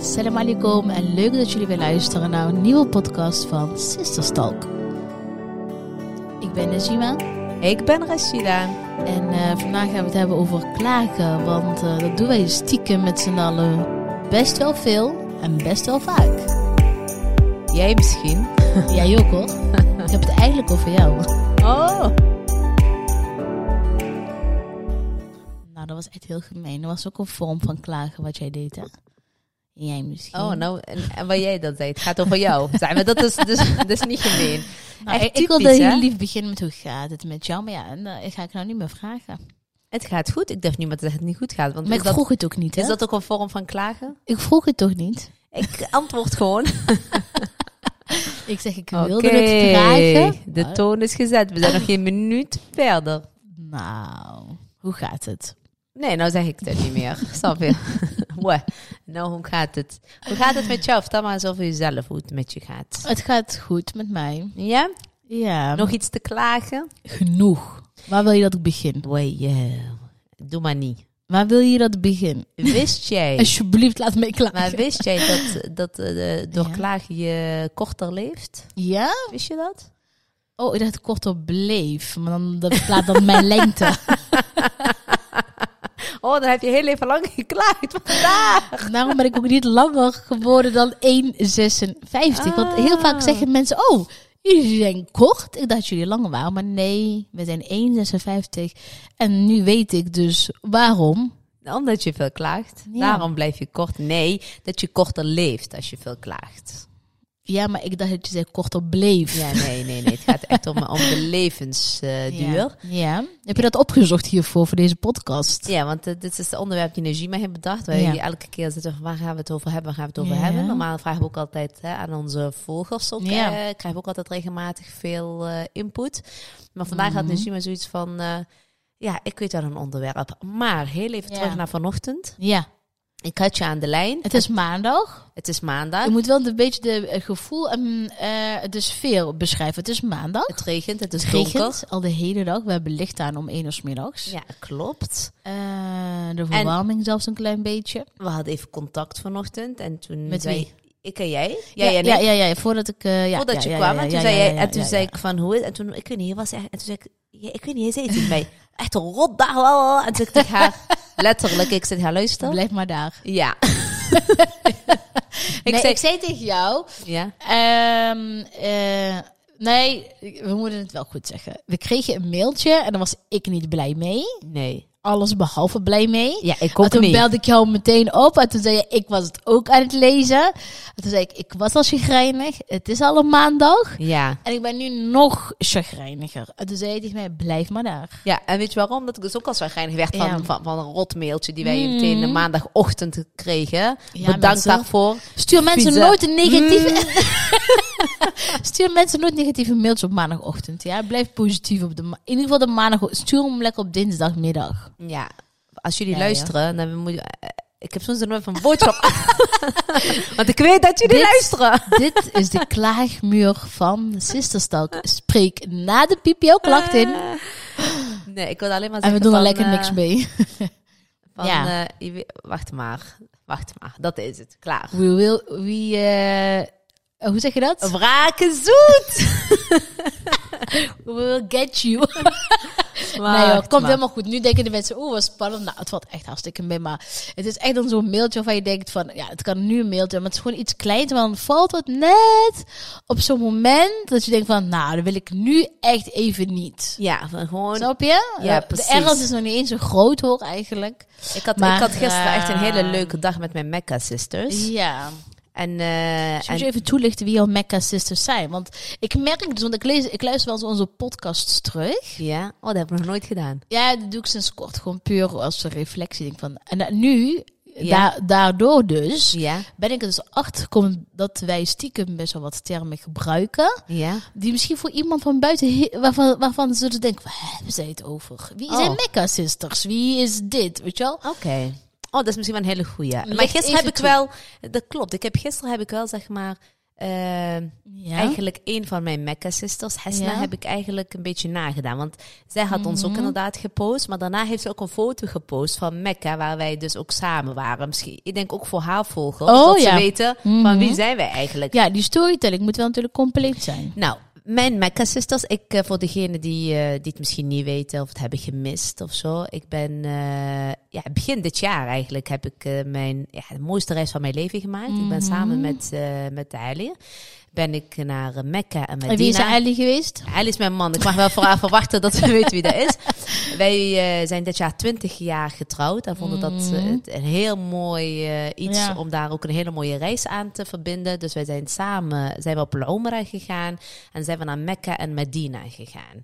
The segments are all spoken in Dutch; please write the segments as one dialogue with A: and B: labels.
A: Salam alaikum en leuk dat jullie weer luisteren naar een nieuwe podcast van Sisters Talk. Ik ben Najima
B: Ik ben Rashida.
A: en eh, vandaag gaan we het hebben over klagen, want eh, dat doen wij stiekem met z'n allen best wel veel en best wel vaak.
B: Jij misschien?
A: Jij ook hoor. Ik heb het eigenlijk over jou.
B: Oh.
A: Nou, dat was echt heel gemeen. Dat was ook een vorm van klagen wat jij deed, hè? Jij misschien.
B: Oh, nou, en, en wat jij dat zei, het gaat over jou. Zijn we, dat is, dus, dat is niet gemeen.
A: Nou,
B: echt
A: ik- ik wilde
B: typisch, hè?
A: heel lief beginnen met hoe gaat het met jou, maar ja, en, eh, ik ga ik nou niet meer vragen.
B: Het gaat goed. Ik durf niemand te zeggen dat het niet goed gaat. Want
A: Maar
B: is,
A: ik
B: dat,
A: vroeg het ook niet, hè?
B: is dat ook een vorm van klagen?
A: Ik vroeg het toch niet?
B: Ik antwoord gewoon.
A: Ik zeg, ik
B: Oké.
A: wilde het vragen.
B: De
A: maar-
B: toon is gezet. We zijn nog geen minuut verder.
A: nou, hoe gaat het?
B: Nee, nou zeg ik dat niet meer. Snap je? Wah. nou, hoe gaat het? Hoe gaat het met jou? Vertel maar eens over jezelf, hoe het met je gaat.
A: Het gaat goed met mij.
B: Ja?
A: Ja, nog
B: Nog iets te klagen?
A: genoeg. Waar wil je dat ik begin?
B: Wee, yeah. doe maar niet.
A: Waar wil je dat ik begin?
B: Wist jij,
A: Alsjeblieft, laat me klagen.
B: maar wist jij dat, dat eh, door
A: Ja.
B: klagen je korter leeft?
A: Ja?
B: Wist je dat?
A: Oh, ik dacht dat ik korter bleef. Maar dan, dat verklaart dan mijn lengte.
B: Oh, dan heb je heel even lang geklaagd. Vandaag.
A: Daarom ben ik ook niet langer geworden dan 1,56. Want
B: Ah.
A: heel vaak zeggen mensen, oh, jullie zijn kort. Ik dacht dat jullie langer waren, maar nee, we zijn 1,56. En nu weet ik dus waarom.
B: Omdat je veel klaagt.
A: Ja.
B: Daarom blijf je kort. Nee, dat je korter leeft als je veel klaagt.
A: Ja, maar ik dacht dat je zei korter bleef.
B: Ja, nee, nee, nee. Het gaat echt om, om de levensduur.
A: Ja.
B: ja.
A: Ja. Heb je dat opgezocht hiervoor, voor deze podcast?
B: want eh, dit is het onderwerp die Najima heeft bedacht. Waar
A: Ja.
B: jullie elke keer zitten van waar gaan we het over hebben, waar gaan we het over
A: Ja.
B: hebben. Normaal vragen we ook altijd hè, aan onze volgers. Ook,
A: Ja.
B: eh, krijgen we ook altijd regelmatig veel eh, input. Maar vandaag had
A: Mhm.
B: Najima zoiets van, eh, ja, ik weet wel een onderwerp. Maar heel even
A: Ja.
B: terug naar vanochtend.
A: Ja.
B: Ik had je aan de lijn.
A: Het is maandag.
B: Het is maandag.
A: Je moet wel een beetje de- het gevoel en eh, de sfeer beschrijven. Het is maandag.
B: Het regent, het is
A: Het
B: donker.
A: regent al de hele dag. We hebben licht aan om 1 uur 's middags.
B: Ja, klopt.
A: Eh, de verwarming zelfs een klein beetje.
B: We hadden even contact vanochtend en toen
A: Met
B: zei
A: wie?
B: ik en jij. Jij
A: ja,
B: en
A: ja,
B: ik.
A: ja, ja, voordat ik... eh, ja,
B: Voordat
A: ja,
B: je
A: ja,
B: kwam
A: ja,
B: en
A: ja,
B: toen zei
A: ja,
B: jij,
A: ja,
B: en toen
A: ja,
B: zei
A: ja.
B: ik van hoe is En toen, ik weet niet, hij was echt, en toen zei ik, ja, ik weet niet, hij zei iets bij. Echt een rot dag wel. En toen zei ik tegen haar, letterlijk, ik zit haar luisteren.
A: Blijf maar daar.
B: Ja. ik
A: nee,
B: zei,
A: ik zei tegen jou...
B: ja.
A: Ehm, eh, nee, we moeten het wel goed zeggen. We kregen een mailtje en daar was ik niet blij mee.
B: Nee.
A: Alles behalve blij mee.
B: Ja, ik
A: En
B: ook
A: toen
B: niet.
A: belde ik jou meteen op en toen zei je, ik was het ook aan het lezen. En toen zei ik, ik was al chagrijnig, het is al een maandag.
B: Ja.
A: En ik ben nu nog chagrijniger. En toen zei je tegen mij, blijf maar daar.
B: Ja, en weet je waarom? Dat ik dus ook al zo geinig werd van,
A: Ja.
B: van, van een rot mailtje die wij
A: Mm.
B: meteen de maandagochtend kregen.
A: Ja,
B: Bedankt
A: mensen.
B: daarvoor.
A: Stuur mensen
B: Vieze.
A: nooit een negatieve... Stuur mensen nooit negatieve mails op maandagochtend. Ja, blijf positief op de... ma- In ieder geval de maandag... Stuur hem lekker op dinsdagmiddag.
B: Ja, als jullie
A: Ja, ja.
B: luisteren, dan moet je... eh, Ik heb soms nog even een boodschap. Want ik weet dat jullie
A: Dit-
B: luisteren.
A: Dit is de klaagmuur van Sisterstalk. Spreek na de piep jouw klacht in.
B: Nee, ik wil alleen maar
A: En we
B: zeggen
A: doen er
B: van,
A: lekker
B: eh,
A: niks mee.
B: Van,
A: Ja.
B: eh, je weet- wacht maar, wacht maar. Dat is het, klaar.
A: We will... We... eh, hoe zeg je dat?
B: Wraken zoet!
A: We will get you. Nee,
B: Wacht
A: joh, komt
B: maar.
A: helemaal goed. Nu denken de mensen, oeh, wat spannend. Nou, het valt echt hartstikke mee. Maar het is echt dan zo'n mailtje waarvan je denkt van, ja, het kan nu een mailtje. Maar het is gewoon iets kleins. Maar dan valt het net op zo'n moment dat je denkt van, nou, dat wil ik nu echt even niet.
B: Ja, van gewoon...
A: Snap je?
B: Ja,
A: Eh,
B: precies.
A: De ergens is nog niet eens zo groot hoor, eigenlijk.
B: Ik had,
A: Maar,
B: ik had gisteren echt een hele
A: eh,
B: leuke dag met mijn Mecca sisters.
A: Ja.
B: En, eh,
A: Dus Moet je
B: en
A: even toelichten wie jouw Mecca sisters zijn? Want ik merk dus, want ik, lees, ik luister wel eens onze podcasts terug.
B: ja, oh, dat heb ik nog nooit gedaan.
A: Ja, dat doe ik sinds kort. Gewoon puur als een reflectie. Denk van, en eh, nu,
B: Ja.
A: da- daardoor dus,
B: Ja,
A: ben ik er dus achter gekomen dat wij stiekem best wel wat termen gebruiken.
B: ja.
A: Die misschien voor iemand van buiten, he- waarvan, waarvan ze dus denken, waar hebben zij het over? Wie zijn
B: Oh.
A: Mecca-sisters? Wie is dit? Weet je wel?
B: Oké. Oh, dat is misschien wel een hele goeie. Maar
A: Leg
B: gisteren
A: even
B: heb ik
A: toe.
B: wel... Dat klopt. Ik heb, gisteren heb ik wel, zeg maar... Ehm,
A: Ja.
B: Eigenlijk een van mijn Mecca-sisters, Hesna,
A: Ja. Mhm.
B: heb ik eigenlijk een beetje nagedaan. Want zij had ons ook inderdaad gepost. Maar daarna heeft ze ook een foto gepost van Mecca, waar wij dus ook samen waren. Misschien, ik denk ook voor haar volgers,
A: Oh,
B: dat
A: ja. Mhm.
B: ze weten van wie zijn wij eigenlijk.
A: ja, die storytelling moet wel natuurlijk compleet zijn.
B: Nou, mijn Mecca Sisters, ik, eh, voor degenen die, eh, die het misschien niet weten of het hebben gemist of zo. Ik ben eh, ja, begin dit jaar eigenlijk heb ik eh, mijn ja, de mooiste reis van mijn leven gemaakt. Ik ben samen
A: Mhm.
B: met, eh met de Heilige. Ben ik naar eh, Mekka en Medina.
A: En wie is er eigenlijk geweest?
B: Hij is mijn man. Ik mag wel voor haar verwachten dat we weten wie dat is. Wij eh, zijn dit jaar 20 jaar getrouwd. En vonden dat eh, het een heel mooi eh, iets
A: Ja.
B: om daar ook een hele mooie reis aan te verbinden. Dus wij zijn samen zijn we op de Omra gegaan. En zijn we naar Mekka en Medina gegaan.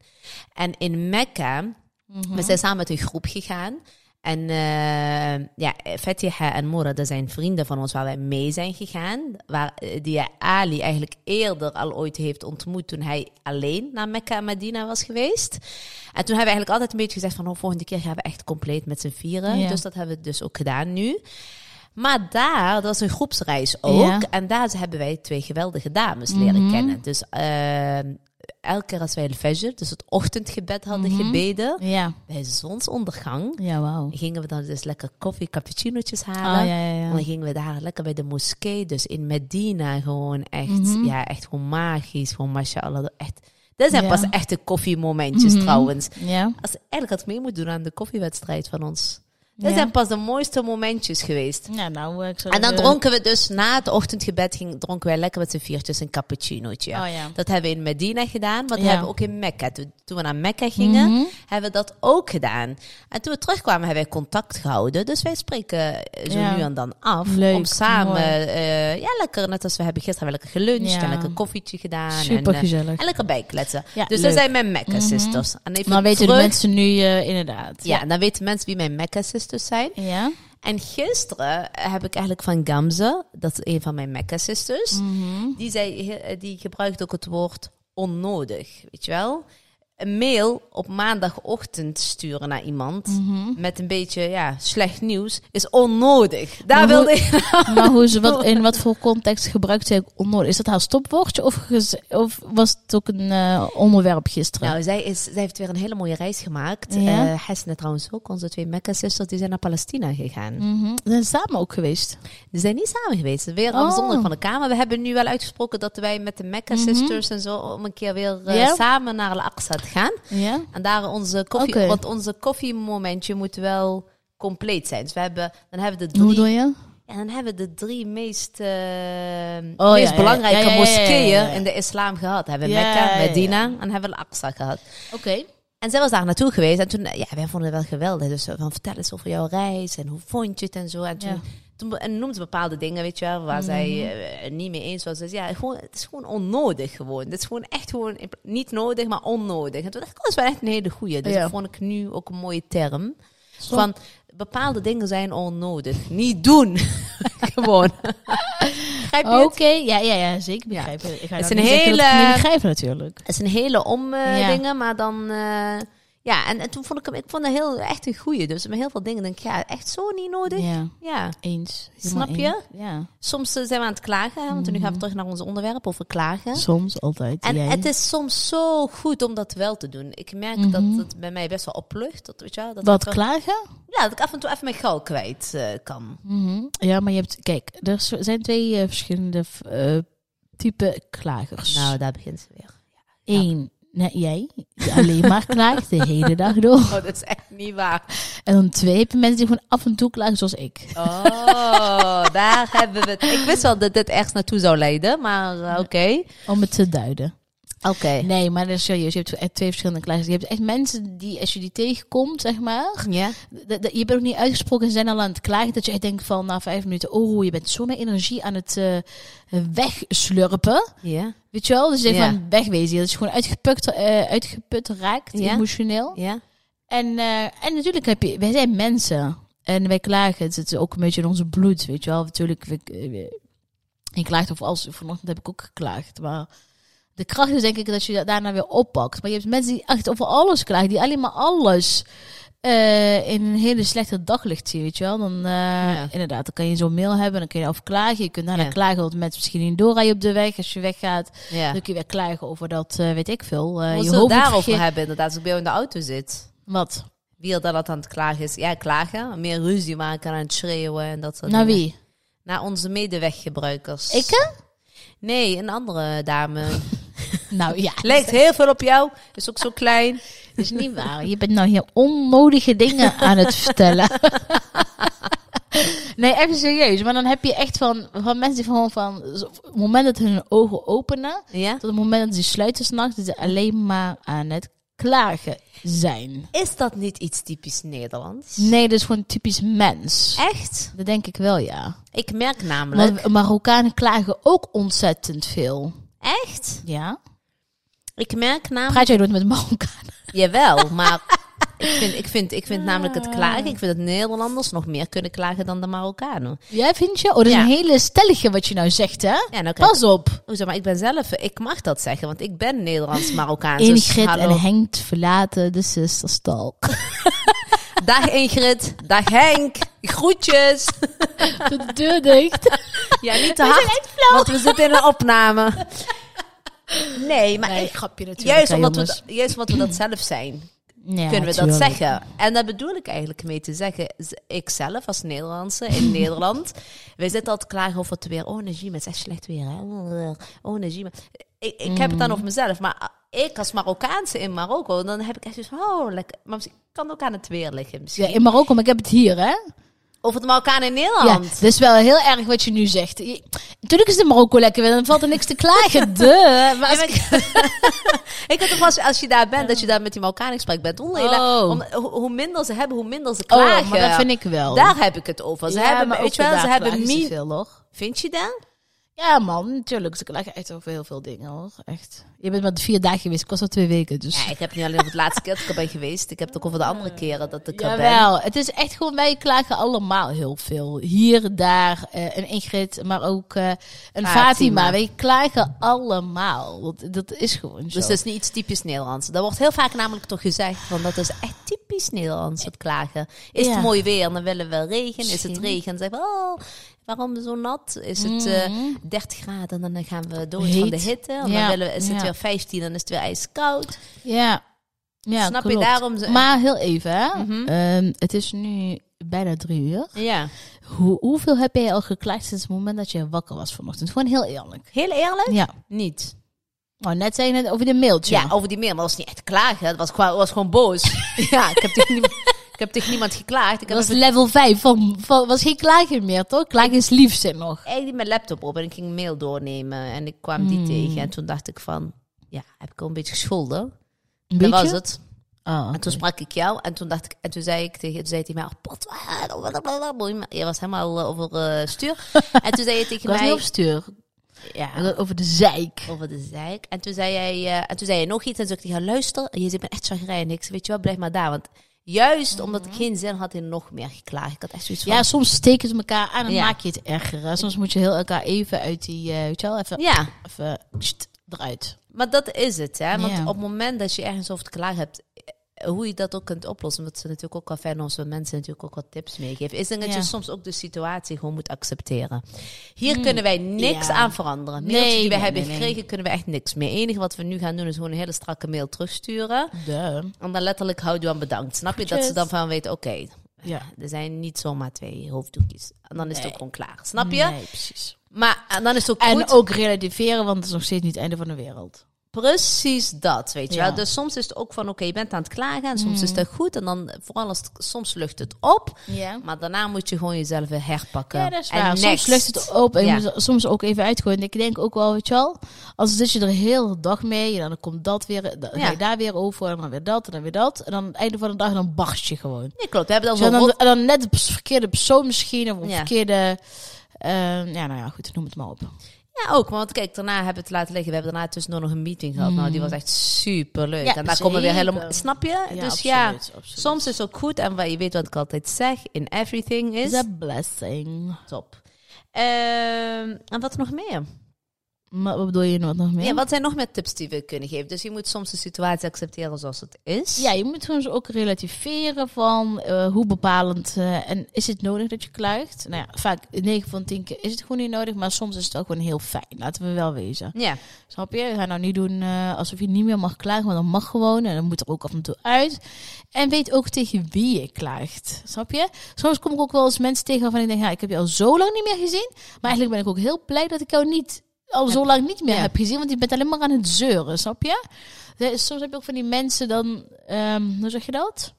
B: En in Mekka,
A: Mhm.
B: we zijn samen met een groep gegaan. En eh, ja, Fatiha en Mora, dat zijn vrienden van ons waar wij mee zijn gegaan. Waar, eh, die Ali eigenlijk eerder al ooit heeft ontmoet toen hij alleen naar Mekka en Medina was geweest. En toen hebben we eigenlijk altijd een beetje gezegd van, oh, volgende keer gaan we echt compleet met z'n vieren.
A: Ja.
B: Dus dat hebben we dus ook gedaan nu. Maar daar, dat was een groepsreis ook.
A: Ja. Mhm.
B: En daar hebben wij twee geweldige dames leren kennen. Dus eh, elke keer als wij de fajr, dus het ochtendgebed hadden
A: Mhm.
B: gebeden,
A: Ja,
B: bij zonsondergang
A: ja, wauw.
B: gingen we dan dus lekker koffie, cappuccinootjes halen.
A: Ah, ja, ja,
B: En
A: ja.
B: dan gingen we daar lekker bij de moskee, dus in Medina gewoon echt,
A: Mhm.
B: ja, echt gewoon magisch, gewoon mashallah. Echt. Dat zijn
A: Ja. Mhm.
B: pas echte koffiemomentjes trouwens.
A: Ja,
B: Als, eigenlijk had ik mee moeten doen aan de koffiewedstrijd van ons. Dat
A: Ja.
B: zijn pas de mooiste momentjes geweest.
A: ja nou, ik zou
B: En dan
A: eh,
B: dronken we dus na het ochtendgebed ging, dronken wij lekker met z'n viertjes een cappuccinootje.
A: Oh ja.
B: Dat hebben we in Medina gedaan, maar dat
A: Ja. Mhm.
B: hebben we ook in Mekka. Toen, toen we naar Mekka gingen, hebben we dat ook gedaan. En toen we terugkwamen, hebben wij contact gehouden. Dus wij spreken eh, zo
A: Ja.
B: nu en dan af.
A: Leuk,
B: om samen,
A: mooi.
B: eh, ja, lekker, net als we hebben gisteren hebben we lekker geluncht
A: Ja.
B: en lekker een koffietje gedaan. en, eh,
A: supergezellig.
B: en lekker bijkletsen.
A: Ja, leuk.
B: dus
A: Mhm.
B: dat zijn mijn Mekka-sisters. En even
A: Maar weten de
B: terug-
A: mensen nu eh, inderdaad.
B: Ja, dan weten mensen wie mijn Mekka-sisters zijn.
A: Ja?
B: En gisteren heb ik eigenlijk van Gamze, dat is een van mijn Mecca-sisters,
A: Mhm.
B: die, zei, eh, die gebruikt ook het woord onnodig, weet je wel? Een mail op maandagochtend sturen naar iemand
A: Mhm.
B: met een beetje ja, slecht nieuws is onnodig. Daar
A: Maar
B: wilde
A: hoe-
B: ik
A: Maar hoe ze wat, in wat voor context gebruikt ze ook onnodig? Is dat haar stopwoordje of, gez- of was het ook een eh, onderwerp gisteren?
B: Nou, zij, is, zij heeft weer een hele mooie reis gemaakt.
A: Ja.
B: Eh, Hesna trouwens ook, onze twee Mecca-sisters, die zijn naar Palestina gegaan.
A: Mhm. Ze zijn samen ook geweest.
B: Ze zijn niet samen geweest. Weer
A: Oh. Mhm.
B: afzonderlijk van elkaar. Maar we hebben nu wel uitgesproken dat wij met de Mecca Sisters en zo om een keer weer eh,
A: Ja.
B: samen naar Al-Aqsa te gaan.
A: Ja?
B: En daar onze koffie,
A: Oké.
B: want onze koffiemomentje moet wel compleet zijn. Dus we hebben, dan hebben we de
A: Hoe
B: drie,
A: bedoel je? Oh,
B: en dan hebben we de drie meest, eh,
A: ja,
B: meest
A: ja,
B: belangrijke
A: ja, ja, ja, ja, ja, ja.
B: moskeeën in de islam gehad. Hebben we
A: Ja,
B: Mekka,
A: ja, ja.
B: Medina en hebben we Al-Aqsa gehad.
A: Oké.
B: En zij was daar naartoe geweest. En toen, eh, ja, wij vonden het wel geweldig. Dus zo van, vertel eens over jouw reis en hoe vond je het en zo. En toen,
A: Ja. Mhm.
B: toen en noemde ze bepaalde dingen, weet je wel, waar zij eh, het niet mee eens was. Dus ja, gewoon, het is gewoon onnodig gewoon. Het is gewoon echt gewoon, in pla- niet nodig, maar onnodig. En toen dacht ik, oh, dat is wel echt een hele goeie. Dus
A: Ja.
B: dat vond ik nu ook een mooie term.
A: Zo.
B: Van, bepaalde dingen zijn onnodig. Niet doen. gewoon. Grijp je
A: Oké,
B: het?
A: ja, ja, ja, zeker begrijp ik. Ik ga het
B: Het is
A: niet
B: een
A: zeggen dat ik het
B: hele-
A: niet begrijp natuurlijk.
B: Het is een hele om eh,
A: Ja.
B: dingen, maar dan... eh, ja, en, en toen vond ik hem... Ik vond hem heel, echt een goeie. Dus met heel veel dingen denk ik, ja, echt zo niet nodig. Ja.
A: Ja, eens.
B: Snap
A: Helemaal
B: je?
A: eens. Ja.
B: Soms eh, zijn we aan het klagen, hè, want nu gaan we terug naar ons onderwerp over klagen.
A: Soms, altijd.
B: En
A: jij.
B: het is soms zo goed om dat wel te doen. Ik merk dat het bij mij best wel oplucht. Dat, weet je wel, dat
A: Wat
B: ik,
A: klagen?
B: Ja, dat ik af en toe even mijn gal kwijt eh, kan.
A: Mhm. Ja, maar je hebt... Kijk, er z- zijn twee eh, verschillende eh, type klagers.
B: Nou, daar begint ze weer.
A: Eén, nee, jij, die alleen maar klaagt de hele dag door.
B: Oh, dat is echt niet waar.
A: En dan twee heb je mensen die gewoon af en toe klagen, zoals ik.
B: Oh, daar hebben we het. Ik wist wel dat dit ergens naartoe zou leiden, maar eh, oké.
A: Om het te duiden.
B: Oké.
A: Nee, maar dat is serieus. Je hebt echt twee verschillende klagers. Je hebt echt mensen die, als je die tegenkomt, zeg maar...
B: Ja.
A: dat- dat- Je bent ook niet uitgesproken, ze zijn al aan het klagen. Dat je echt denkt van na vijf minuten... Oh, je bent zo mijn energie aan het eh, wegslurpen.
B: Ja.
A: Weet je wel? Dus je denkt
B: Ja.
A: van wegwezen. Dat je dus gewoon uitgeput, eh, uitgeput raakt,
B: Ja.
A: emotioneel.
B: Ja.
A: En, eh, en natuurlijk heb je, wij zijn mensen. En wij klagen, het zit ook een beetje in onze bloed, weet je wel. Natuurlijk, we, we- je klaagt over alles. Vanochtend heb ik ook geklaagd, maar de kracht is denk ik dat je dat daarna weer oppakt. Maar je hebt mensen die echt over alles klagen, die alleen maar alles eh, in een hele slechte daglicht zie, weet je wel. Dan, eh,
B: Ja.
A: Inderdaad, dan kan je zo'n mail hebben, dan kun je over klagen. Je kunt daarna
B: Ja.
A: klagen dat mensen misschien niet doorrijden op de weg als je weggaat.
B: Ja.
A: Dan kun je weer klagen over dat, eh, weet ik veel. eh,
B: We
A: je
B: zullen
A: hoofd
B: het
A: wordt
B: daarover
A: verge-
B: hebben, inderdaad, als ik bij jou in de auto zit.
A: Wat?
B: Wie er dan dat aan het klagen is. Ja, klagen. Meer ruzie maken, aan het schreeuwen en dat soort
A: Naar
B: dingen.
A: Nou wie?
B: Naar onze medeweggebruikers.
A: Ik? hè?
B: Nee, een andere dame.
A: Nou ja,
B: Lijkt heel veel op jou. Is ook zo klein.
A: dat is niet waar. Je bent nou hier onnodige dingen aan het vertellen. nee, even serieus. Maar dan heb je echt van, van mensen die gewoon van... Op het moment dat hun ogen openen...
B: Ja?
A: Tot het moment dat ze sluiten s'nachts, dat ze alleen maar aan het klagen zijn.
B: Is dat niet iets typisch Nederlands?
A: Nee, dat is gewoon typisch mens.
B: Echt?
A: Dat denk ik wel, ja.
B: Ik merk namelijk.
A: Want Marokkanen klagen ook ontzettend veel.
B: Echt?
A: Ja?
B: Ik merk namelijk.
A: Praat jij nooit met Marokkanen?
B: Jawel, maar. Ik vind, ik, vind, ik vind namelijk het klagen. Ik vind dat Nederlanders nog meer kunnen klagen dan de Marokkanen.
A: Ja, vind je? Oh, dat is
B: Ja.
A: een hele stellige wat je nou zegt, hè?
B: Ja, nou kijk.
A: Pas op.
B: Oh, zeg maar, ik ben zelf. Ik mag dat zeggen, want ik ben Nederlands-Marokkaans. dus
A: Ingrid
B: hallo.
A: en Henk verlaten de zusterstalk.
B: Dag Ingrid. Dag Henk. Groetjes.
A: De deur dicht.
B: Ja, niet te hard. Want we zitten in een opname. Nee, maar
A: Nee,
B: ik,
A: grapje natuurlijk.
B: juist,
A: hè,
B: omdat we,
A: jongens.
B: dat- juist omdat we dat zelf zijn.
A: Ja,
B: kunnen we dat
A: tuurlijk.
B: zeggen. En daar bedoel ik eigenlijk mee te zeggen. Z- Ik zelf als Nederlandse in Nederland. Wij zitten altijd klagen over het weer. Oh, Najima, het is echt slecht weer. Hè? Oh, Najima. Ik, ik heb het
A: Mm.
B: dan over mezelf. Maar ah, ik als Marokkaanse in Marokko, dan heb ik echt zoiets van, oh, lekker. Maar misschien kan het ook aan het weer liggen. Misschien.
A: Ja, in Marokko, maar ik heb het hier, hè?
B: Over de Marokkanen in
A: Ja, dus
B: Nederland.
A: dat is wel heel erg wat je nu zegt. Je- Natuurlijk is het in Marokko lekker weer, dan valt er niks te klagen. Duh. Maar als-
B: Ja, maar ik- ik had toch vast, als je daar bent, dat je daar met die Marokkanen in gesprek bent. Onlele,
A: Oh.
B: om, hoe, hoe minder ze hebben, hoe minder ze klagen.
A: oh, maar dat vind ik wel.
B: Daar heb ik het over. Ze
A: Ja,
B: hebben,
A: maar
B: weet
A: ook
B: je wel,
A: daar
B: ze hebben
A: klagen ze
B: niet.
A: veel, hoor.
B: Vind je dat?
A: Ja, man, natuurlijk. Ze klagen echt over heel veel dingen, hoor. Echt. Je bent maar vier dagen geweest, ik was al twee weken, dus...
B: Ja, ik heb niet alleen over de laatste keer dat ik er ben geweest. Ik heb het ook over de andere keren dat ik er ben.
A: Jawel, het is echt gewoon, wij klagen allemaal heel veel. Hier, daar, eh, een Ingrid, maar ook eh, een
B: Fatima.
A: Fatima. Wij klagen allemaal. Dat, dat is gewoon zo.
B: Dus dat is niet iets typisch Nederlands. Dat wordt heel vaak namelijk toch gezegd, want dat is echt typisch Nederlands, het klagen. Is
A: Ja.
B: het mooi weer, dan willen we regen. Is het
A: Misschien. Mm.
B: regen, dan zeggen we, oh, waarom zo nat? Is het eh,
A: Mhm.
B: 30 graden, en dan gaan we dood van de
A: Heet.
B: hitte. En dan
A: Ja.
B: willen we, is het
A: Ja.
B: weer 15, dan is het weer ijskoud.
A: Ja. ja
B: Snap je
A: klopt.
B: daarom? eh, Mhm. ze-
A: Maar heel even, hè. Ehm, het is nu bijna drie uur.
B: ja.
A: Hoe, hoeveel heb jij al geklaagd sinds het moment dat je wakker was vanochtend? Gewoon heel eerlijk.
B: Heel eerlijk?
A: Ja.
B: Niet.
A: Oh, net zei je het over de mailtje.
B: Ja, oh, over die mail, maar dat was niet echt klagen. Dat was, gewoon- was gewoon boos. ja, ik heb, tegen niemand, ik heb tegen niemand geklaagd. Ik heb
A: dat was
B: even-
A: level 5. Van, van, was geen klagen meer, toch? Klagen is liefde nog.
B: ik deed mijn laptop op en ik ging mail doornemen. En ik kwam die tegen. En toen dacht ik van, ja, heb ik al een beetje gescholden?
A: Een
B: Dat
A: beetje?
B: was het.
A: Oh, oké.
B: En toen sprak ik jou. En toen dacht ik, en toen zei ik tegen, toen zei hij mij, oh, pot, ah, blablabla, boeien. je was helemaal eh, over eh, stuur. en toen zei je
A: Ik
B: tegen
A: was niet
B: mij,
A: op stuur.
B: ja,
A: Ja, Over de zeik.
B: over de zeik. En toen zei jij, eh, en toen zei je nog iets. En toen zei ik tegen haar, luister, je zit me echt chagrijnig. Ik zei, weet je wat, blijf maar daar. Want juist omdat ik geen zin had in nog meer geklaagd. Ik had echt zoiets van,
A: Mhm. Ja, soms steken ze elkaar aan en
B: Ja.
A: maak je het erger. hè. Soms moet je heel elkaar even uit die, eh weet je wel, even,
B: ja.
A: even sst, eruit.
B: Maar dat is het, hè? Want
A: Ja.
B: op het moment dat je ergens over te klagen hebt, eh, hoe je dat ook kunt oplossen, want ze natuurlijk ook wel fijn als we mensen natuurlijk ook wat tips meegeven, is dat
A: Ja. Hmm.
B: je soms ook de situatie gewoon moet accepteren. Hier kunnen wij niks
A: Ja.
B: aan veranderen.
A: Nee,
B: Mailtjes die we
A: nee,
B: hebben
A: nee, nee.
B: gekregen, kunnen we echt niks mee. Het enige wat we nu gaan doen is gewoon een hele strakke mail terugsturen.
A: Duh.
B: En dan letterlijk houdt u aan bedankt. Snap je dat
A: Groetjes.
B: ze dan van weten, oké,
A: Ja.
B: er zijn niet zomaar twee hoofddoekjes. En dan is het
A: Nee.
B: ook gewoon klaar. Snap je?
A: Nee, precies.
B: Maar en dan is het ook
A: En
B: goed.
A: ook relativeren, want het is nog steeds niet het einde van de wereld.
B: Precies dat, weet je
A: Ja. Mm.
B: wel. Dus soms is het ook van, oké, je bent aan het klagen en soms is dat goed. En dan, vooral als het- soms lucht het op.
A: Ja.
B: Maar daarna moet je gewoon jezelf weer herpakken.
A: Ja, dat is waar.
B: En
A: Soms
B: next.
A: lucht het op en je
B: Ja.
A: moet er soms ook even uitgooien. En ik denk ook wel, weet je wel, als zit je er heel de dag mee, en dan komt dat weer, dan
B: Ja.
A: ga je daar weer over, en dan weer dat, en dan weer dat. En dan aan het einde van de dag, dan barst je gewoon.
B: Nee, klopt. We hebben
A: Dus en
B: dan
A: dan,
B: zo'n
A: en dan net de pers- verkeerde persoon misschien, of een
B: Ja.
A: verkeerde... eh, ja, nou ja, goed, noem het maar op.
B: Ja, ook. Want kijk, daarna hebben we het laten liggen. We hebben daarna tussendoor nog een meeting gehad. Nou, die was echt super leuk.
A: Mm. Ja,
B: en daar komen we weer
A: zeker.
B: helemaal... Snap je? dus
A: absoluut,
B: ja,
A: absoluut.
B: soms is het ook goed. En wat, je weet wat ik altijd zeg. In everything is...
A: It's a blessing.
B: Top. Ehm, en wat nog meer?
A: Maar wat bedoel je nog, nog meer?
B: Ja, wat zijn nog meer tips die we kunnen geven? Dus je moet soms de situatie accepteren zoals het is.
A: Ja, je moet gewoon ook relativeren van eh, hoe bepalend eh, en is het nodig dat je kluigt? Nou ja, vaak 9 van 10 keer is het gewoon niet nodig, maar soms is het ook gewoon heel fijn. Laten we wel wezen.
B: Ja.
A: Snap je? Ga nou niet doen eh, alsof je niet meer mag klagen, want dat mag gewoon en dan moet er ook af en toe uit. En weet ook tegen wie je klaagt. Snap je? Soms kom ik ook wel eens mensen tegen waarvan ik denk, ja, ik heb je al zo lang niet meer gezien, maar eigenlijk ben ik ook heel blij dat ik jou niet al zo lang niet meer
B: Ja.
A: heb gezien, want je bent alleen maar aan het zeuren, snap je? Er is- Soms heb je ook van die mensen dan, ehm, hoe zeg je dat?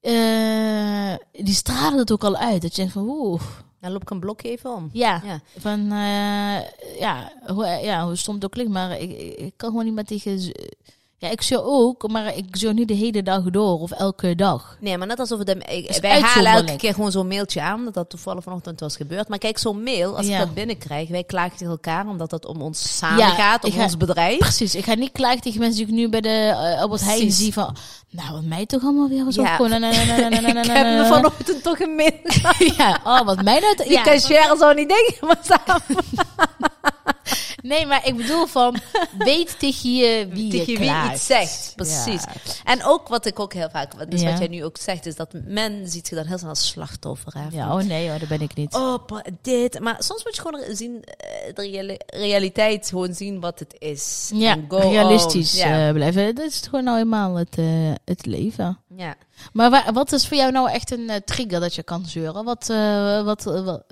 A: Eh, die stralen het ook al uit. Dat je denkt van, oeh,
B: Dan loop ik een blokje even om.
A: ja.
B: Ja.
A: Van, eh, ja, hoe, ja, hoe stom het ook klinkt, maar ik, ik- ik kan gewoon niet meer tegen... ze- Ja, ik zeur ook, maar ik zeur niet de hele dag door of elke dag.
B: Nee, maar net alsof het hem. ik-
A: is
B: wij halen elke
A: uitzonderlijk.
B: keer gewoon zo'n mailtje aan. Dat dat toevallig vanochtend was gebeurd. Maar kijk, zo'n mail, als
A: Ja.
B: ik dat binnenkrijg, wij klagen tegen elkaar omdat dat om ons samen
A: Ja,
B: gaat, om
A: ik ga-
B: ons bedrijf.
A: Precies, ik ga niet klagen tegen mensen die ik nu bij de eh, Albert Heijn
B: Precies.
A: zie van... Nou, wat mij toch allemaal weer eens
B: Ja.
A: opkomt. Na, na, na, na, na, na, na,
B: Ik heb
A: na,
B: me
A: na.
B: vanochtend toch een mail.
A: Ja, oh, wat mij dat...
B: Die
A: ja.
B: cashier zou niet denken, maar samen.
A: Nee, maar ik bedoel van... Weet tegen je wie je
B: tegen wie
A: klaagt.
B: iets zegt. Precies.
A: Ja.
B: En ook wat ik ook heel vaak, wat- dus
A: Ja.
B: wat jij nu ook zegt, is dat men ziet je dan heel snel als slachtoffer. Hè,
A: Ja,
B: van,
A: oh nee hoor, dat ben ik niet.
B: Oh, pa- dit. Maar soms moet je gewoon zien, eh, de reali- realiteit gewoon zien wat het is.
A: ja,
B: En go
A: realistisch
B: on. Ja.
A: eh, blijven. Dat is gewoon nou eenmaal het, eh, het leven.
B: ja.
A: Maar wa- wat is voor jou nou echt een eh, trigger dat je kan zeuren? Wat, eh, wat, eh, wa-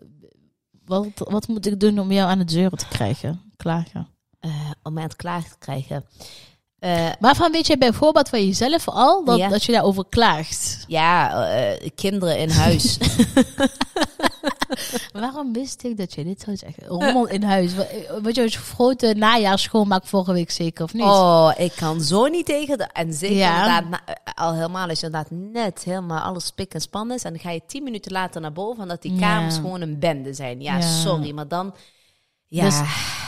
A: wat, wat, moet ik doen om jou aan het zeuren te krijgen? Klagen.
B: Eh, om mij aan het klaar te krijgen. Eh,
A: Waarvan weet jij bijvoorbeeld van jezelf al dat,
B: Ja.
A: dat je daarover klaagt?
B: ja, eh, kinderen in huis.
A: Waarom wist ik dat je dit zou zeggen? Rommel in huis. Wa- eh, Wat je als grote najaarsschoonmaak vorige week zeker, of niet?
B: oh, ik kan zo niet tegen. De, en zeker
A: Ja.
B: inderdaad, na- eh, al helemaal als je inderdaad net helemaal alles pik en span is. En dan ga je tien minuten later naar boven. En dat die
A: Ja.
B: kamers gewoon een bende zijn. Ja,
A: Ja.
B: sorry. Maar dan... Ja,
A: Dus-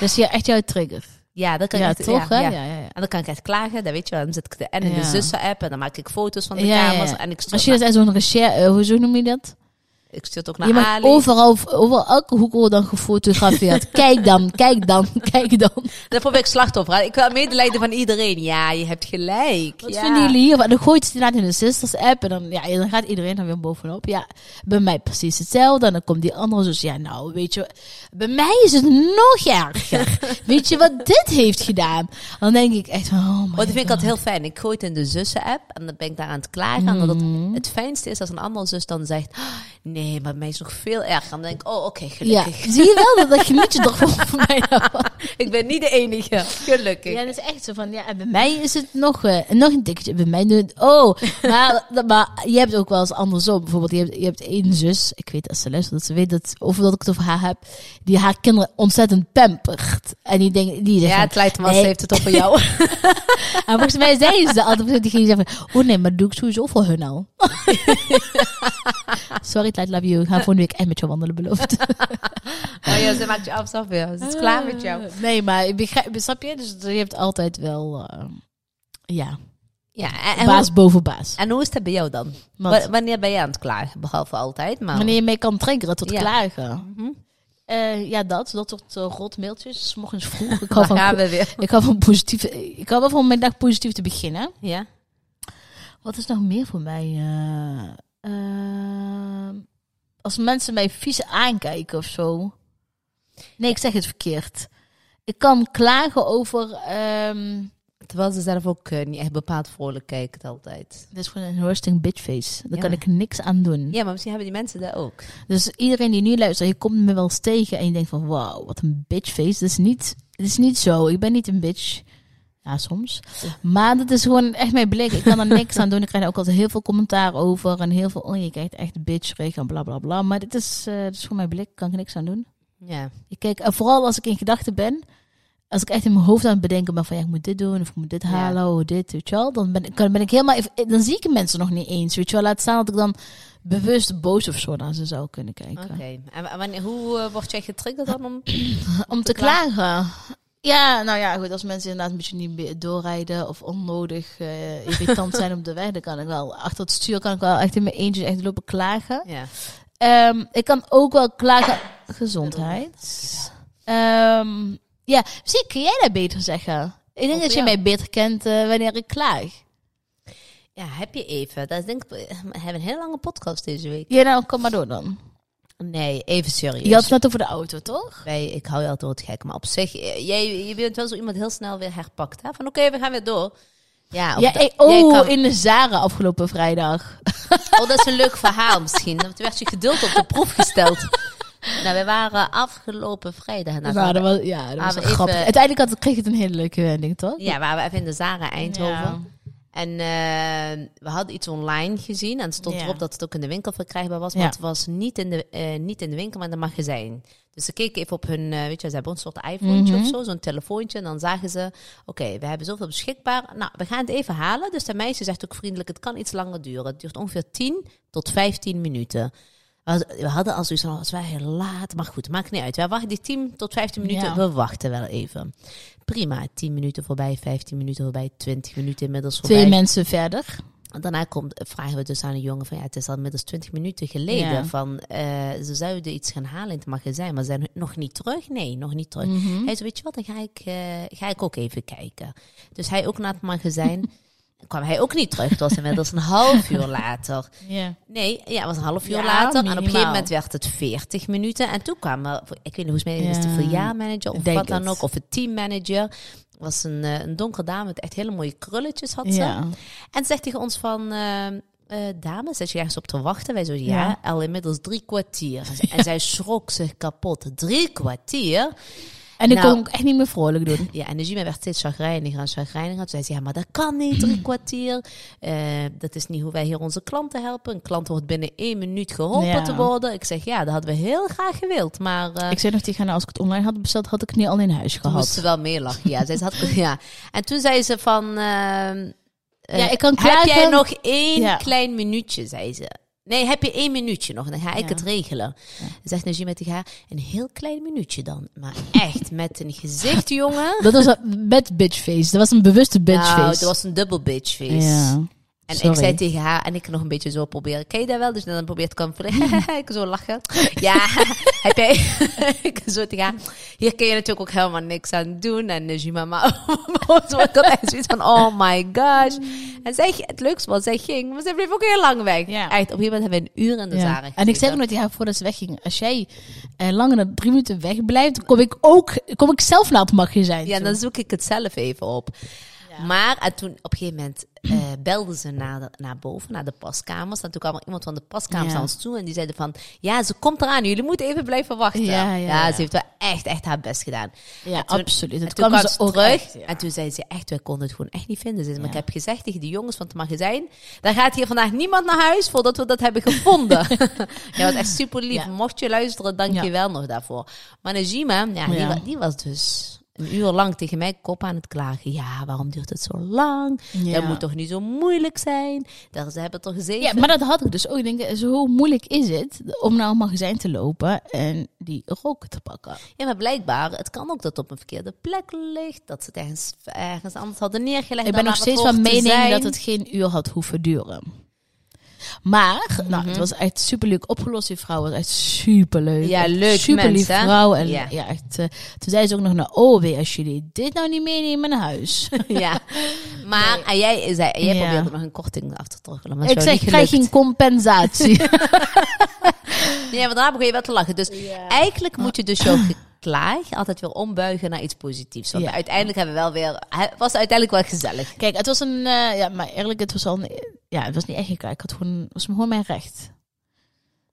A: Dat is hier echt jouw trigger.
B: ja dat kan
A: ja,
B: ik echt-
A: toch?
B: ja,
A: hè?
B: ja.
A: ja, ja, ja.
B: En dan kan ik echt klagen, dan weet je wel. Dan zit ik de, en in
A: Ja.
B: de zussen-app en dan maak ik foto's van de
A: Ja, ja,
B: kamers.
A: ja.
B: En ik stuur,
A: Als je dat aan zo'n recherche, eh, hoezo noem je dat?
B: ik stuur het ook
A: je
B: naar
A: mag
B: Ali.
A: overal, overal elke hoek wordt dan gefotografeerd. kijk dan, kijk dan, kijk dan.
B: Dan probeer ik slachtoffer. hè. Ik wil medelijden van iedereen. Ja, je hebt gelijk.
A: Wat
B: ja.
A: vinden jullie hiervan? Dan gooit ze het inderdaad in de sisters app en dan, ja, dan gaat iedereen er weer bovenop. Ja, bij mij precies hetzelfde. En dan komt die andere zus. Ja, nou, weet je, bij mij is het nog erger. weet je wat dit heeft gedaan? Dan denk ik echt van, oh my
B: Want ik vind dat heel fijn. Ik gooi het in de zussen-app en dan ben ik daar aan het klagen. En dat
A: Mm.
B: het, het fijnste is als een andere zus dan zegt... "Ah, Nee, maar mij is nog veel erger. En dan denk ik, oh, oké,
A: Ja,
B: gelukkig.
A: zie je wel? Dat, dat geniet je toch wel van mij nou daarvan.
B: Ik ben niet de enige. Gelukkig.
A: Ja, dat is echt zo van, ja, en bij mij is het nog, eh, nog een tikje. Bij mij nu, oh, maar, dat- maar je hebt ook wel eens andersom. Bijvoorbeeld, je hebt, je hebt één zus, ik weet als ze luistert, dat ze weet dat, of dat ik het over haar heb, die haar kinderen ontzettend pampert. En die denkt, die zegt
B: Ja,
A: van,
B: het lijkt me als
A: nee.
B: ze heeft het over jou.
A: en volgens mij zei ze altijd, diegene die zei van, oh nee, maar dat doe ik sowieso voor hun al. Sorry, Tijd Love You, ik ga volgende week echt met jou wandelen, beloofd.
B: Maar Oh ja, ze maakt je afstand weer. Ze is klaar met jou.
A: Nee, maar ik begrijp, snap je? Dus je hebt altijd wel, eh, ja,
B: Ja, en, en, hoe,
A: baas boven baas.
B: en hoe is dat bij jou dan?
A: Want-
B: Wa- Wanneer ben je aan het klagen? Behalve altijd, maar...
A: Wanneer je mee kan triggeren tot
B: Ja.
A: klagen.
B: Mhm.
A: Eh, ja, dat. Dat soort eh, rot mailtjes. 's Morgens vroeg. Ik hou
B: Dan gaan
A: van,
B: we weer.
A: ik hou van positief. Ik hou wel van mijn dag positief te beginnen.
B: Ja.
A: Wat is nog meer voor mij? eh, ehm, als mensen mij vies aankijken of zo. Nee, ik zeg het verkeerd. Ik kan klagen over. ehm
B: Terwijl ze zelf ook eh, niet echt bepaald vrolijk kijkt altijd.
A: dat is gewoon een roasting bitchface. Daar
B: Ja.
A: kan ik niks aan doen.
B: Ja, maar misschien hebben die mensen dat ook.
A: Dus iedereen die nu luistert, je komt me wel eens tegen en je denkt van wauw, wat een bitchface. Dat is niet, dat is niet zo. Ik ben niet een bitch. Ja, soms. Maar dat is gewoon echt mijn blik. Ik kan er niks aan doen. Ik krijg daar ook altijd heel veel commentaar over. En heel veel, oh je kijkt echt bitcherig en bla bla bla. Maar dit is, eh dit is gewoon mijn blik. Kan ik niks aan doen.
B: Ja.
A: Ik kijk, en vooral als ik in gedachten ben. Als ik echt in mijn hoofd aan het bedenken ben van ja, ik moet dit doen of ik moet dit
B: Ja.
A: halen of dit, weet je wel. Dan ben, ik- kan, ben ik helemaal, even- dan zie ik mensen nog niet eens, weet je wel. Laat staan dat ik dan bewust boos of zo naar ze zou kunnen kijken.
B: Oké. En wa- wanneer, hoe eh, word jij getriggerd dan om...
A: Om te
B: te klagen?
A: klagen. Ja, nou ja, goed. Als mensen inderdaad een beetje niet meer doorrijden of onnodig eh, irritant zijn op de weg, dan kan ik wel achter het stuur kan ik wel echt in mijn eentje echt lopen klagen.
B: Ja.
A: Ehm, ik kan ook wel klagen. Gezondheid. Ehm, Ja, misschien kun jij dat beter zeggen. Ik denk
B: Over
A: dat je
B: jou.
A: mij beter kent eh, wanneer ik klaag.
B: Ja, heb je even. Dat is denk ik, we hebben een hele lange podcast deze week.
A: Ja, nou, kom maar door dan.
B: Nee, even serieus.
A: Je had het net over de auto, toch?
B: Wij- ik hou je altijd wat gek, maar op zich, eh, jij, je bent wel zo iemand heel snel weer herpakt. Hè? Van oké, we gaan weer door. Ja, eh, of
A: Ja,
B: da-
A: ik-
B: jij
A: oh,
B: kan-
A: in de Zara afgelopen vrijdag.
B: oh, dat is een leuk verhaal misschien. Want toen werd je geduld op de proef gesteld. nou, we waren afgelopen vrijdag. naar
A: nou,
B: de-
A: dat was, ja, dat was
B: we
A: wel grappig.
B: even-
A: Uiteindelijk had, kreeg het een hele leuke wending, toch?
B: Ja, waren we even in de Zara Eindhoven.
A: Ja.
B: En eh, we hadden iets online gezien en het stond
A: Ja.
B: erop dat het ook in de winkel verkrijgbaar was.
A: Ja.
B: Maar het was niet in, de, eh, niet in de winkel, maar in de magazijn. Dus ze keken even op hun, eh, weet je, ze hebben een soort iPhone
A: Mhm.
B: of zo, zo'n telefoontje. En dan zagen ze, oké, we hebben zoveel beschikbaar. Nou, we gaan het even halen. Dus de meisje zegt ook vriendelijk, het kan iets langer duren. Het duurt ongeveer 10 tot 15 minuten. We hadden- We hadden als u zo, het was heel laat, maar goed, maakt niet uit. Wij wachten die 10 tot 15 minuten,
A: Ja.
B: we wachten wel even. Prima, 10 minuten voorbij, 15 minuten voorbij, 20 minuten inmiddels voorbij.
A: Twee mensen verder.
B: Daarna komt, vragen we dus aan de jongen van ja, het is al inmiddels 20 minuten geleden.
A: Ja.
B: Van eh, ze zouden iets gaan halen in het magazijn, maar ze zijn nog niet terug. Nee, nog niet terug.
A: Mhm.
B: Hij zei, weet je wat, dan ga ik, eh, ga ik ook even kijken. Dus hij ook naar het magazijn. kwam hij ook niet terug. Het was inmiddels een half uur later.
A: Ja.
B: Nee, ja, het was een half uur
A: Ja,
B: later. En op een
A: minimaal.
B: gegeven moment werd het 40 minuten. En toen kwam er, ik weet niet hoe het is, het de
A: Ja,
B: filiaalmanager of
A: ik denk
B: wat dan
A: het.
B: ook, of een teammanager. was een, eh, een donkere dame met echt hele mooie krulletjes had ze.
A: Ja.
B: En zegt tegen ons van... eh, eh, dames, zet je ergens op te wachten? Wij zo, ja,
A: Ja.
B: al inmiddels drie kwartier. En zij schrok zich kapot. Drie kwartier?
A: En ik
B: Nou.
A: kon ik echt niet meer vrolijk doen.
B: Ja, en de Jima werd steeds chagrijniger en chagrijniger. Toen zei ze, ja, maar dat kan niet, drie kwartier. Eh, dat is niet hoe wij hier onze klanten helpen. Een klant wordt binnen één minuut geholpen
A: Ja.
B: te worden. Ik zeg, ja, dat hadden we heel graag gewild. Maar eh
A: Ik zei nog tegen haar, als ik het online had besteld, had ik het niet al in huis
B: toen moest
A: gehad.
B: ze wel meer lachen. Ja, zei ze had, ja. En toen zei ze van... ehm, eh,
A: Ja, ik kan
B: Heb jij
A: klagen.
B: nog één
A: Ja.
B: klein minuutje, zei ze. Nee, heb je één minuutje nog? Dan ga ik
A: Ja.
B: het regelen. Zegt Najima tegen haar, een heel klein minuutje dan. Maar echt, met een gezicht, jongen.
A: Dat was een bad bitchface. Dat was een bewuste bitchface.
B: Nou, dat was een dubbel bitchface.
A: Ja.
B: En
A: Sorry.
B: ik zei tegen haar, en ik nog een beetje zo proberen. Ken je dat wel? Dus dan probeert
A: Mm.
B: ik ik zo lachen. Ja, heb jij... ik zo tegen haar, hier kun je natuurlijk ook helemaal niks aan doen. En dus je mama... zo, ik had echt zoiets van, oh my gosh. En zij, het leukste was, zij ging, maar zij bleef ook heel lang weg.
A: Mm. Ja.
B: Echt, op een gegeven moment hebben we een uur in de
A: Ja.
B: zaal
A: En ik zei ook nog tegen haar voordat ze wegging, als jij eh, langer dan drie minuten weg blijft, dan kom ik ook, kom ik zelf naar het magazijn.
B: Ja,
A: toe.
B: dan zoek ik het zelf even op. Maar en toen op een gegeven moment eh, belden ze naar, de- naar boven, naar de paskamers. En toen kwam er iemand van de paskamers
A: Ja.
B: naar ons toe en die zeiden van... Ja, ze komt eraan, jullie moeten even blijven wachten.
A: Ja, ja, ja.
B: ze heeft wel echt, echt haar best gedaan.
A: ja
B: toen-
A: absoluut.
B: En
A: Het
B: toen
A: kwam
B: kwam
A: ze
B: ze
A: ook
B: terug
A: echt, ja.
B: en toen zei ze echt, wij konden het gewoon echt niet vinden. Ze zei, maar
A: Ja.
B: ik heb gezegd tegen die jongens van het magazijn... Daar gaat hier vandaag niemand naar huis voordat we dat hebben gevonden. ja, was echt super lief.
A: Ja.
B: Mocht je luisteren, dank
A: Ja.
B: je wel nog daarvoor. Maar Najima, ja, Die,
A: Ja.
B: wa- die was dus een uur lang tegen mij kop aan het klagen. Ja, waarom duurt het zo lang?
A: Ja.
B: Dat moet toch niet zo moeilijk zijn? Daar, ze hebben toch zeven...
A: Ja, maar dat had ik dus ook. Ik denk, zo moeilijk is het om naar een magazijn te lopen en die rook te pakken.
B: Ja, maar blijkbaar, het kan ook dat het op een verkeerde plek ligt. Dat ze het ergens, ergens anders hadden neergelegd.
A: Ik
B: dan
A: ben nog
B: waar het
A: steeds van
B: hoort te
A: mening
B: zijn.
A: dat het geen uur had hoeven duren. Maar, nou,
B: Mhm.
A: het was echt superleuk opgelost. Die vrouw was echt superleuk.
B: Ja,
A: Echt
B: leuk
A: Superlief
B: mens, hè?
A: vrouw. En ja,
B: Ja.
A: echt, eh, toen zei ze ook nog, nou, oh, als jullie dit nou niet meenemen naar huis.
B: Ja, maar en jij, zei, en jij
A: Ja.
B: probeerde nog een korting af te troggelen. Maar
A: ik zeg,
B: niet
A: ik krijg
B: gelukt.
A: geen compensatie.
B: Ja, want daar begon je wel te lachen. Dus eigenlijk moet je dus jouw geklaag altijd weer ombuigen naar iets positiefs. Want
A: Ja.
B: uiteindelijk hebben we wel weer... Het was uiteindelijk wel gezellig.
A: Kijk, het was een, eh, ja, maar eerlijk, het was al een, ja, het was niet echt een klaar. Ik had gewoon, het was gewoon mijn recht.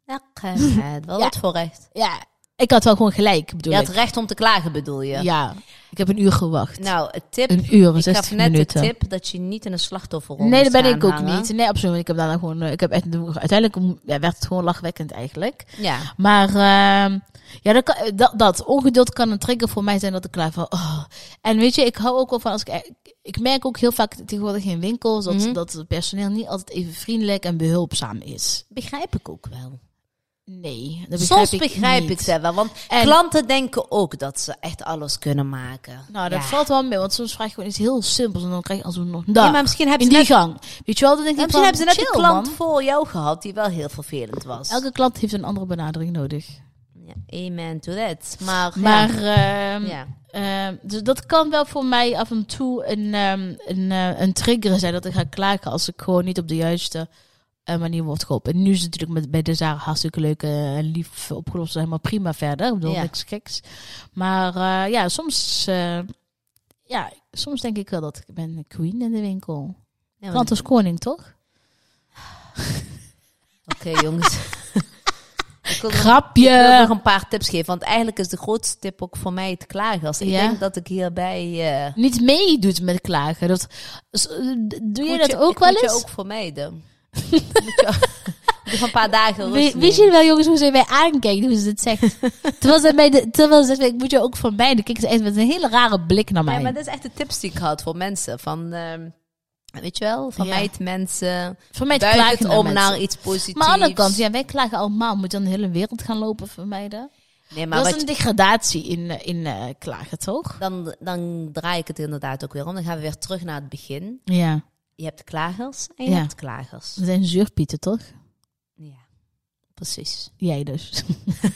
B: Ja, het wel
A: Ja.
B: wat voor recht.
A: Ja, ik had wel gewoon gelijk, bedoel
B: Je had
A: ik.
B: recht om te klagen, bedoel je?
A: Ja, ik heb een uur gewacht.
B: Nou, het tip...
A: een uur en
B: ik gaf
A: 60
B: net
A: minuten.
B: de tip dat je niet in een slachtoffer
A: Nee, dat ben ik ook niet. Nee, absoluut. Ik heb daarna gewoon, eh, ik heb echt, uiteindelijk mm, ja, werd het gewoon lachwekkend eigenlijk.
B: Ja.
A: Maar ehm, ja, dat, kan- eh, dat, dat ongeduld kan een trigger voor mij zijn dat ik klaar van. oh. En weet je, ik hou ook wel van als ik. eh, Ik merk ook heel vaak tegenwoordig in winkels dat,
B: Mhm.
A: dat het personeel niet altijd even vriendelijk en behulpzaam is.
B: Begrijp ik ook wel.
A: Nee, dat begrijp
B: Soms
A: ik
B: begrijp
A: niet.
B: ik dat wel. Want
A: En-
B: klanten denken ook dat ze echt alles kunnen maken.
A: Nou, dat
B: Ja.
A: valt wel mee, want soms vraag je gewoon iets heel simpels en dan krijg je als een nog dag.
B: Ja, maar misschien hebben
A: in
B: ze
A: die
B: net,
A: gang. Weet je wel, dan denk ik
B: misschien
A: van,
B: hebben ze net een
A: chill,
B: klant
A: man.
B: voor jou gehad die wel heel vervelend was.
A: Elke klant heeft een andere benadering nodig.
B: Ja. Amen to that. Maar,
A: Maar
B: ja.
A: ehm,
B: ja.
A: ehm, dus dat kan wel voor mij af en toe een, ehm, een, eh, een trigger zijn dat ik ga klagen als ik gewoon niet op de juiste eh, manier word geholpen. En nu is het natuurlijk met, bij de Zara hartstikke leuk eh, en lief opgelost. Helemaal prima verder. Ik bedoel,
B: Ja.
A: niks geks. Maar eh, ja, soms, eh, ja, soms denk ik wel dat ik ben een queen in de winkel.
B: Ja,
A: Want als koning, toch?
B: Oké, jongens. ik wil nog- Ik wil
A: Grapje!
B: nog een paar tips geven, want eigenlijk is de grootste tip ook voor mij het klagen. Als ik
A: Ja.
B: denk dat ik hierbij... eh
A: Niet meedoet met klagen. Dat, s- eh, d- doe je
B: moet
A: dat ook
B: ik
A: wel
B: moet
A: eens?
B: je ook vermijden. Moet je- moet je van een paar dagen rust
A: We-
B: nemen.
A: Weet je wel, jongens, hoe ze mij aankijkt, hoe ze dit zegt? terwijl ze mij, de, terwijl ze zegt, ik moet je ook van mij. Dan kijkt ze echt met een hele rare blik naar mij.
B: Ja, maar dat is echt de tips die ik had voor mensen. Van, ehm, weet je wel, vermijd mensen.
A: voor mij het
B: Buig
A: klagen
B: het
A: naar
B: om
A: mensen.
B: naar iets positiefs.
A: Maar aan de andere kant, ja, wij klagen allemaal. Moet je dan de hele wereld gaan lopen vermijden?
B: Nee, maar
A: dat
B: wat
A: is een degradatie in, eh, in eh, klagen, toch?
B: dan, dan draai ik het inderdaad ook weer om. Dan gaan we weer terug naar het begin.
A: Ja,
B: Je hebt klagers en je
A: Ja.
B: hebt klagers.
A: we zijn zuurpieten, toch?
B: Ja, precies.
A: Jij dus.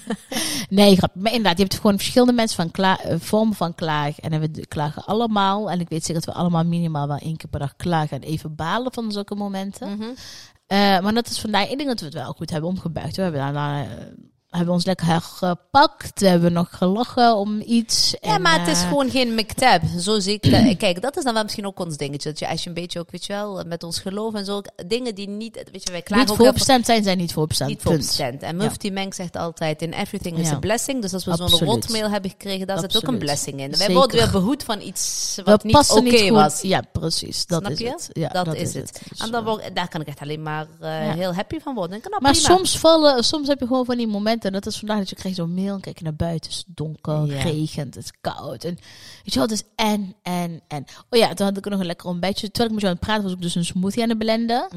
A: nee, grap. Maar inderdaad, je hebt gewoon verschillende mensen van kla- eh, vormen van klaag. En we d- klagen allemaal. En ik weet zeker dat we allemaal minimaal wel één keer per dag klagen. En even balen van zulke momenten. Eh, maar dat is vandaag, ik denk dat we het wel goed hebben omgebuigd. We hebben, daarna, eh, hebben ons lekker hergepakt. We hebben nog gelachen om iets.
B: Ja,
A: En,
B: maar het is
A: eh,
B: gewoon geen mektab. Zo zie ik dat. Kijk, dat is dan wel misschien ook ons dingetje. Dat je als je een beetje ook, weet je wel, met ons geloof en zo. Dingen die niet, weet je, wij klagen
A: Niet
B: ook heel veel-
A: voorbestemd zijn, zijn niet voorbestemd.
B: niet
A: Punt.
B: voorbestemd. En Mufti Meng zegt altijd, in everything is
A: Ja.
B: a blessing. Dus als we zo'n
A: Absoluut.
B: rotmail hebben gekregen, daar zit ook een
A: Absoluut.
B: blessing in. Wij
A: Zeker.
B: worden weer behoed van iets
A: We
B: wat niet oké
A: passen niet goed.
B: was.
A: Ja, precies. Dat
B: Snap
A: is
B: je?
A: het. Ja,
B: dat, is het.
A: Dus,
B: en dan word, daar kan ik echt alleen maar eh, heel happy van worden. Ik kan dat
A: Maar
B: prima.
A: soms vallen, soms heb je gewoon van die momenten. en Dat is vandaag dat je krijgt zo'n mail en kijk je naar buiten. Het is donker,
B: Ja.
A: regent, het is koud. En weet je wel, het is en, en, en. Oh ja, toen had ik nog een lekker ontbijtje. Terwijl ik met jou aan het praten was, ik dus een smoothie aan de blenden.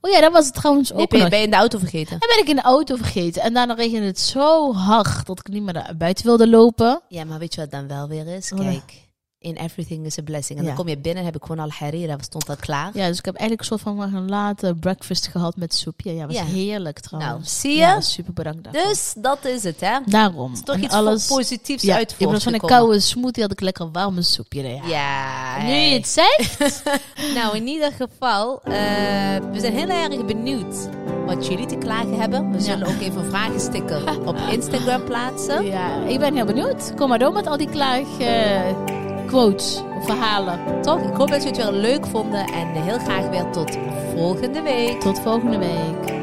A: Oh ja, dat was het trouwens ook
B: Mhm. Nee, ben, je,
A: nog.
B: ben je in de auto vergeten?
A: En ben ik in de auto vergeten. En daarna regende het zo hard dat ik niet meer naar buiten wilde lopen.
B: Ja, maar weet je wat dan wel weer is?
A: Wat?
B: Kijk, in everything is a blessing. En
A: Ja.
B: dan kom je binnen, heb ik gewoon al harira, stond dat klaar.
A: Ja, dus ik heb eigenlijk een soort van een late breakfast gehad met soepje. Ja, was
B: Ja.
A: heerlijk
B: nou,
A: trouwens.
B: zie je?
A: Ja, super bedankt daarvoor.
B: dus dat is het, hè? Het
A: Daarom.
B: is toch
A: En
B: iets
A: alles...
B: positiefs
A: Ja,
B: uit
A: in plaats van een
B: voortgekomen.
A: koude smoothie had ik lekker warme soepje. Nou Ja.
B: Ja.
A: Nu je het zegt.
B: Nou, in ieder geval, eh, we zijn heel erg benieuwd wat jullie te klagen hebben. We zullen ook even een vragensticker op Instagram plaatsen.
A: Ja, ik ben heel benieuwd. Kom maar door met al die klaag eh, quotes of verhalen.
B: Toch? Ik hoop dat jullie het weer leuk vonden en heel graag weer tot volgende week.
A: Tot volgende week.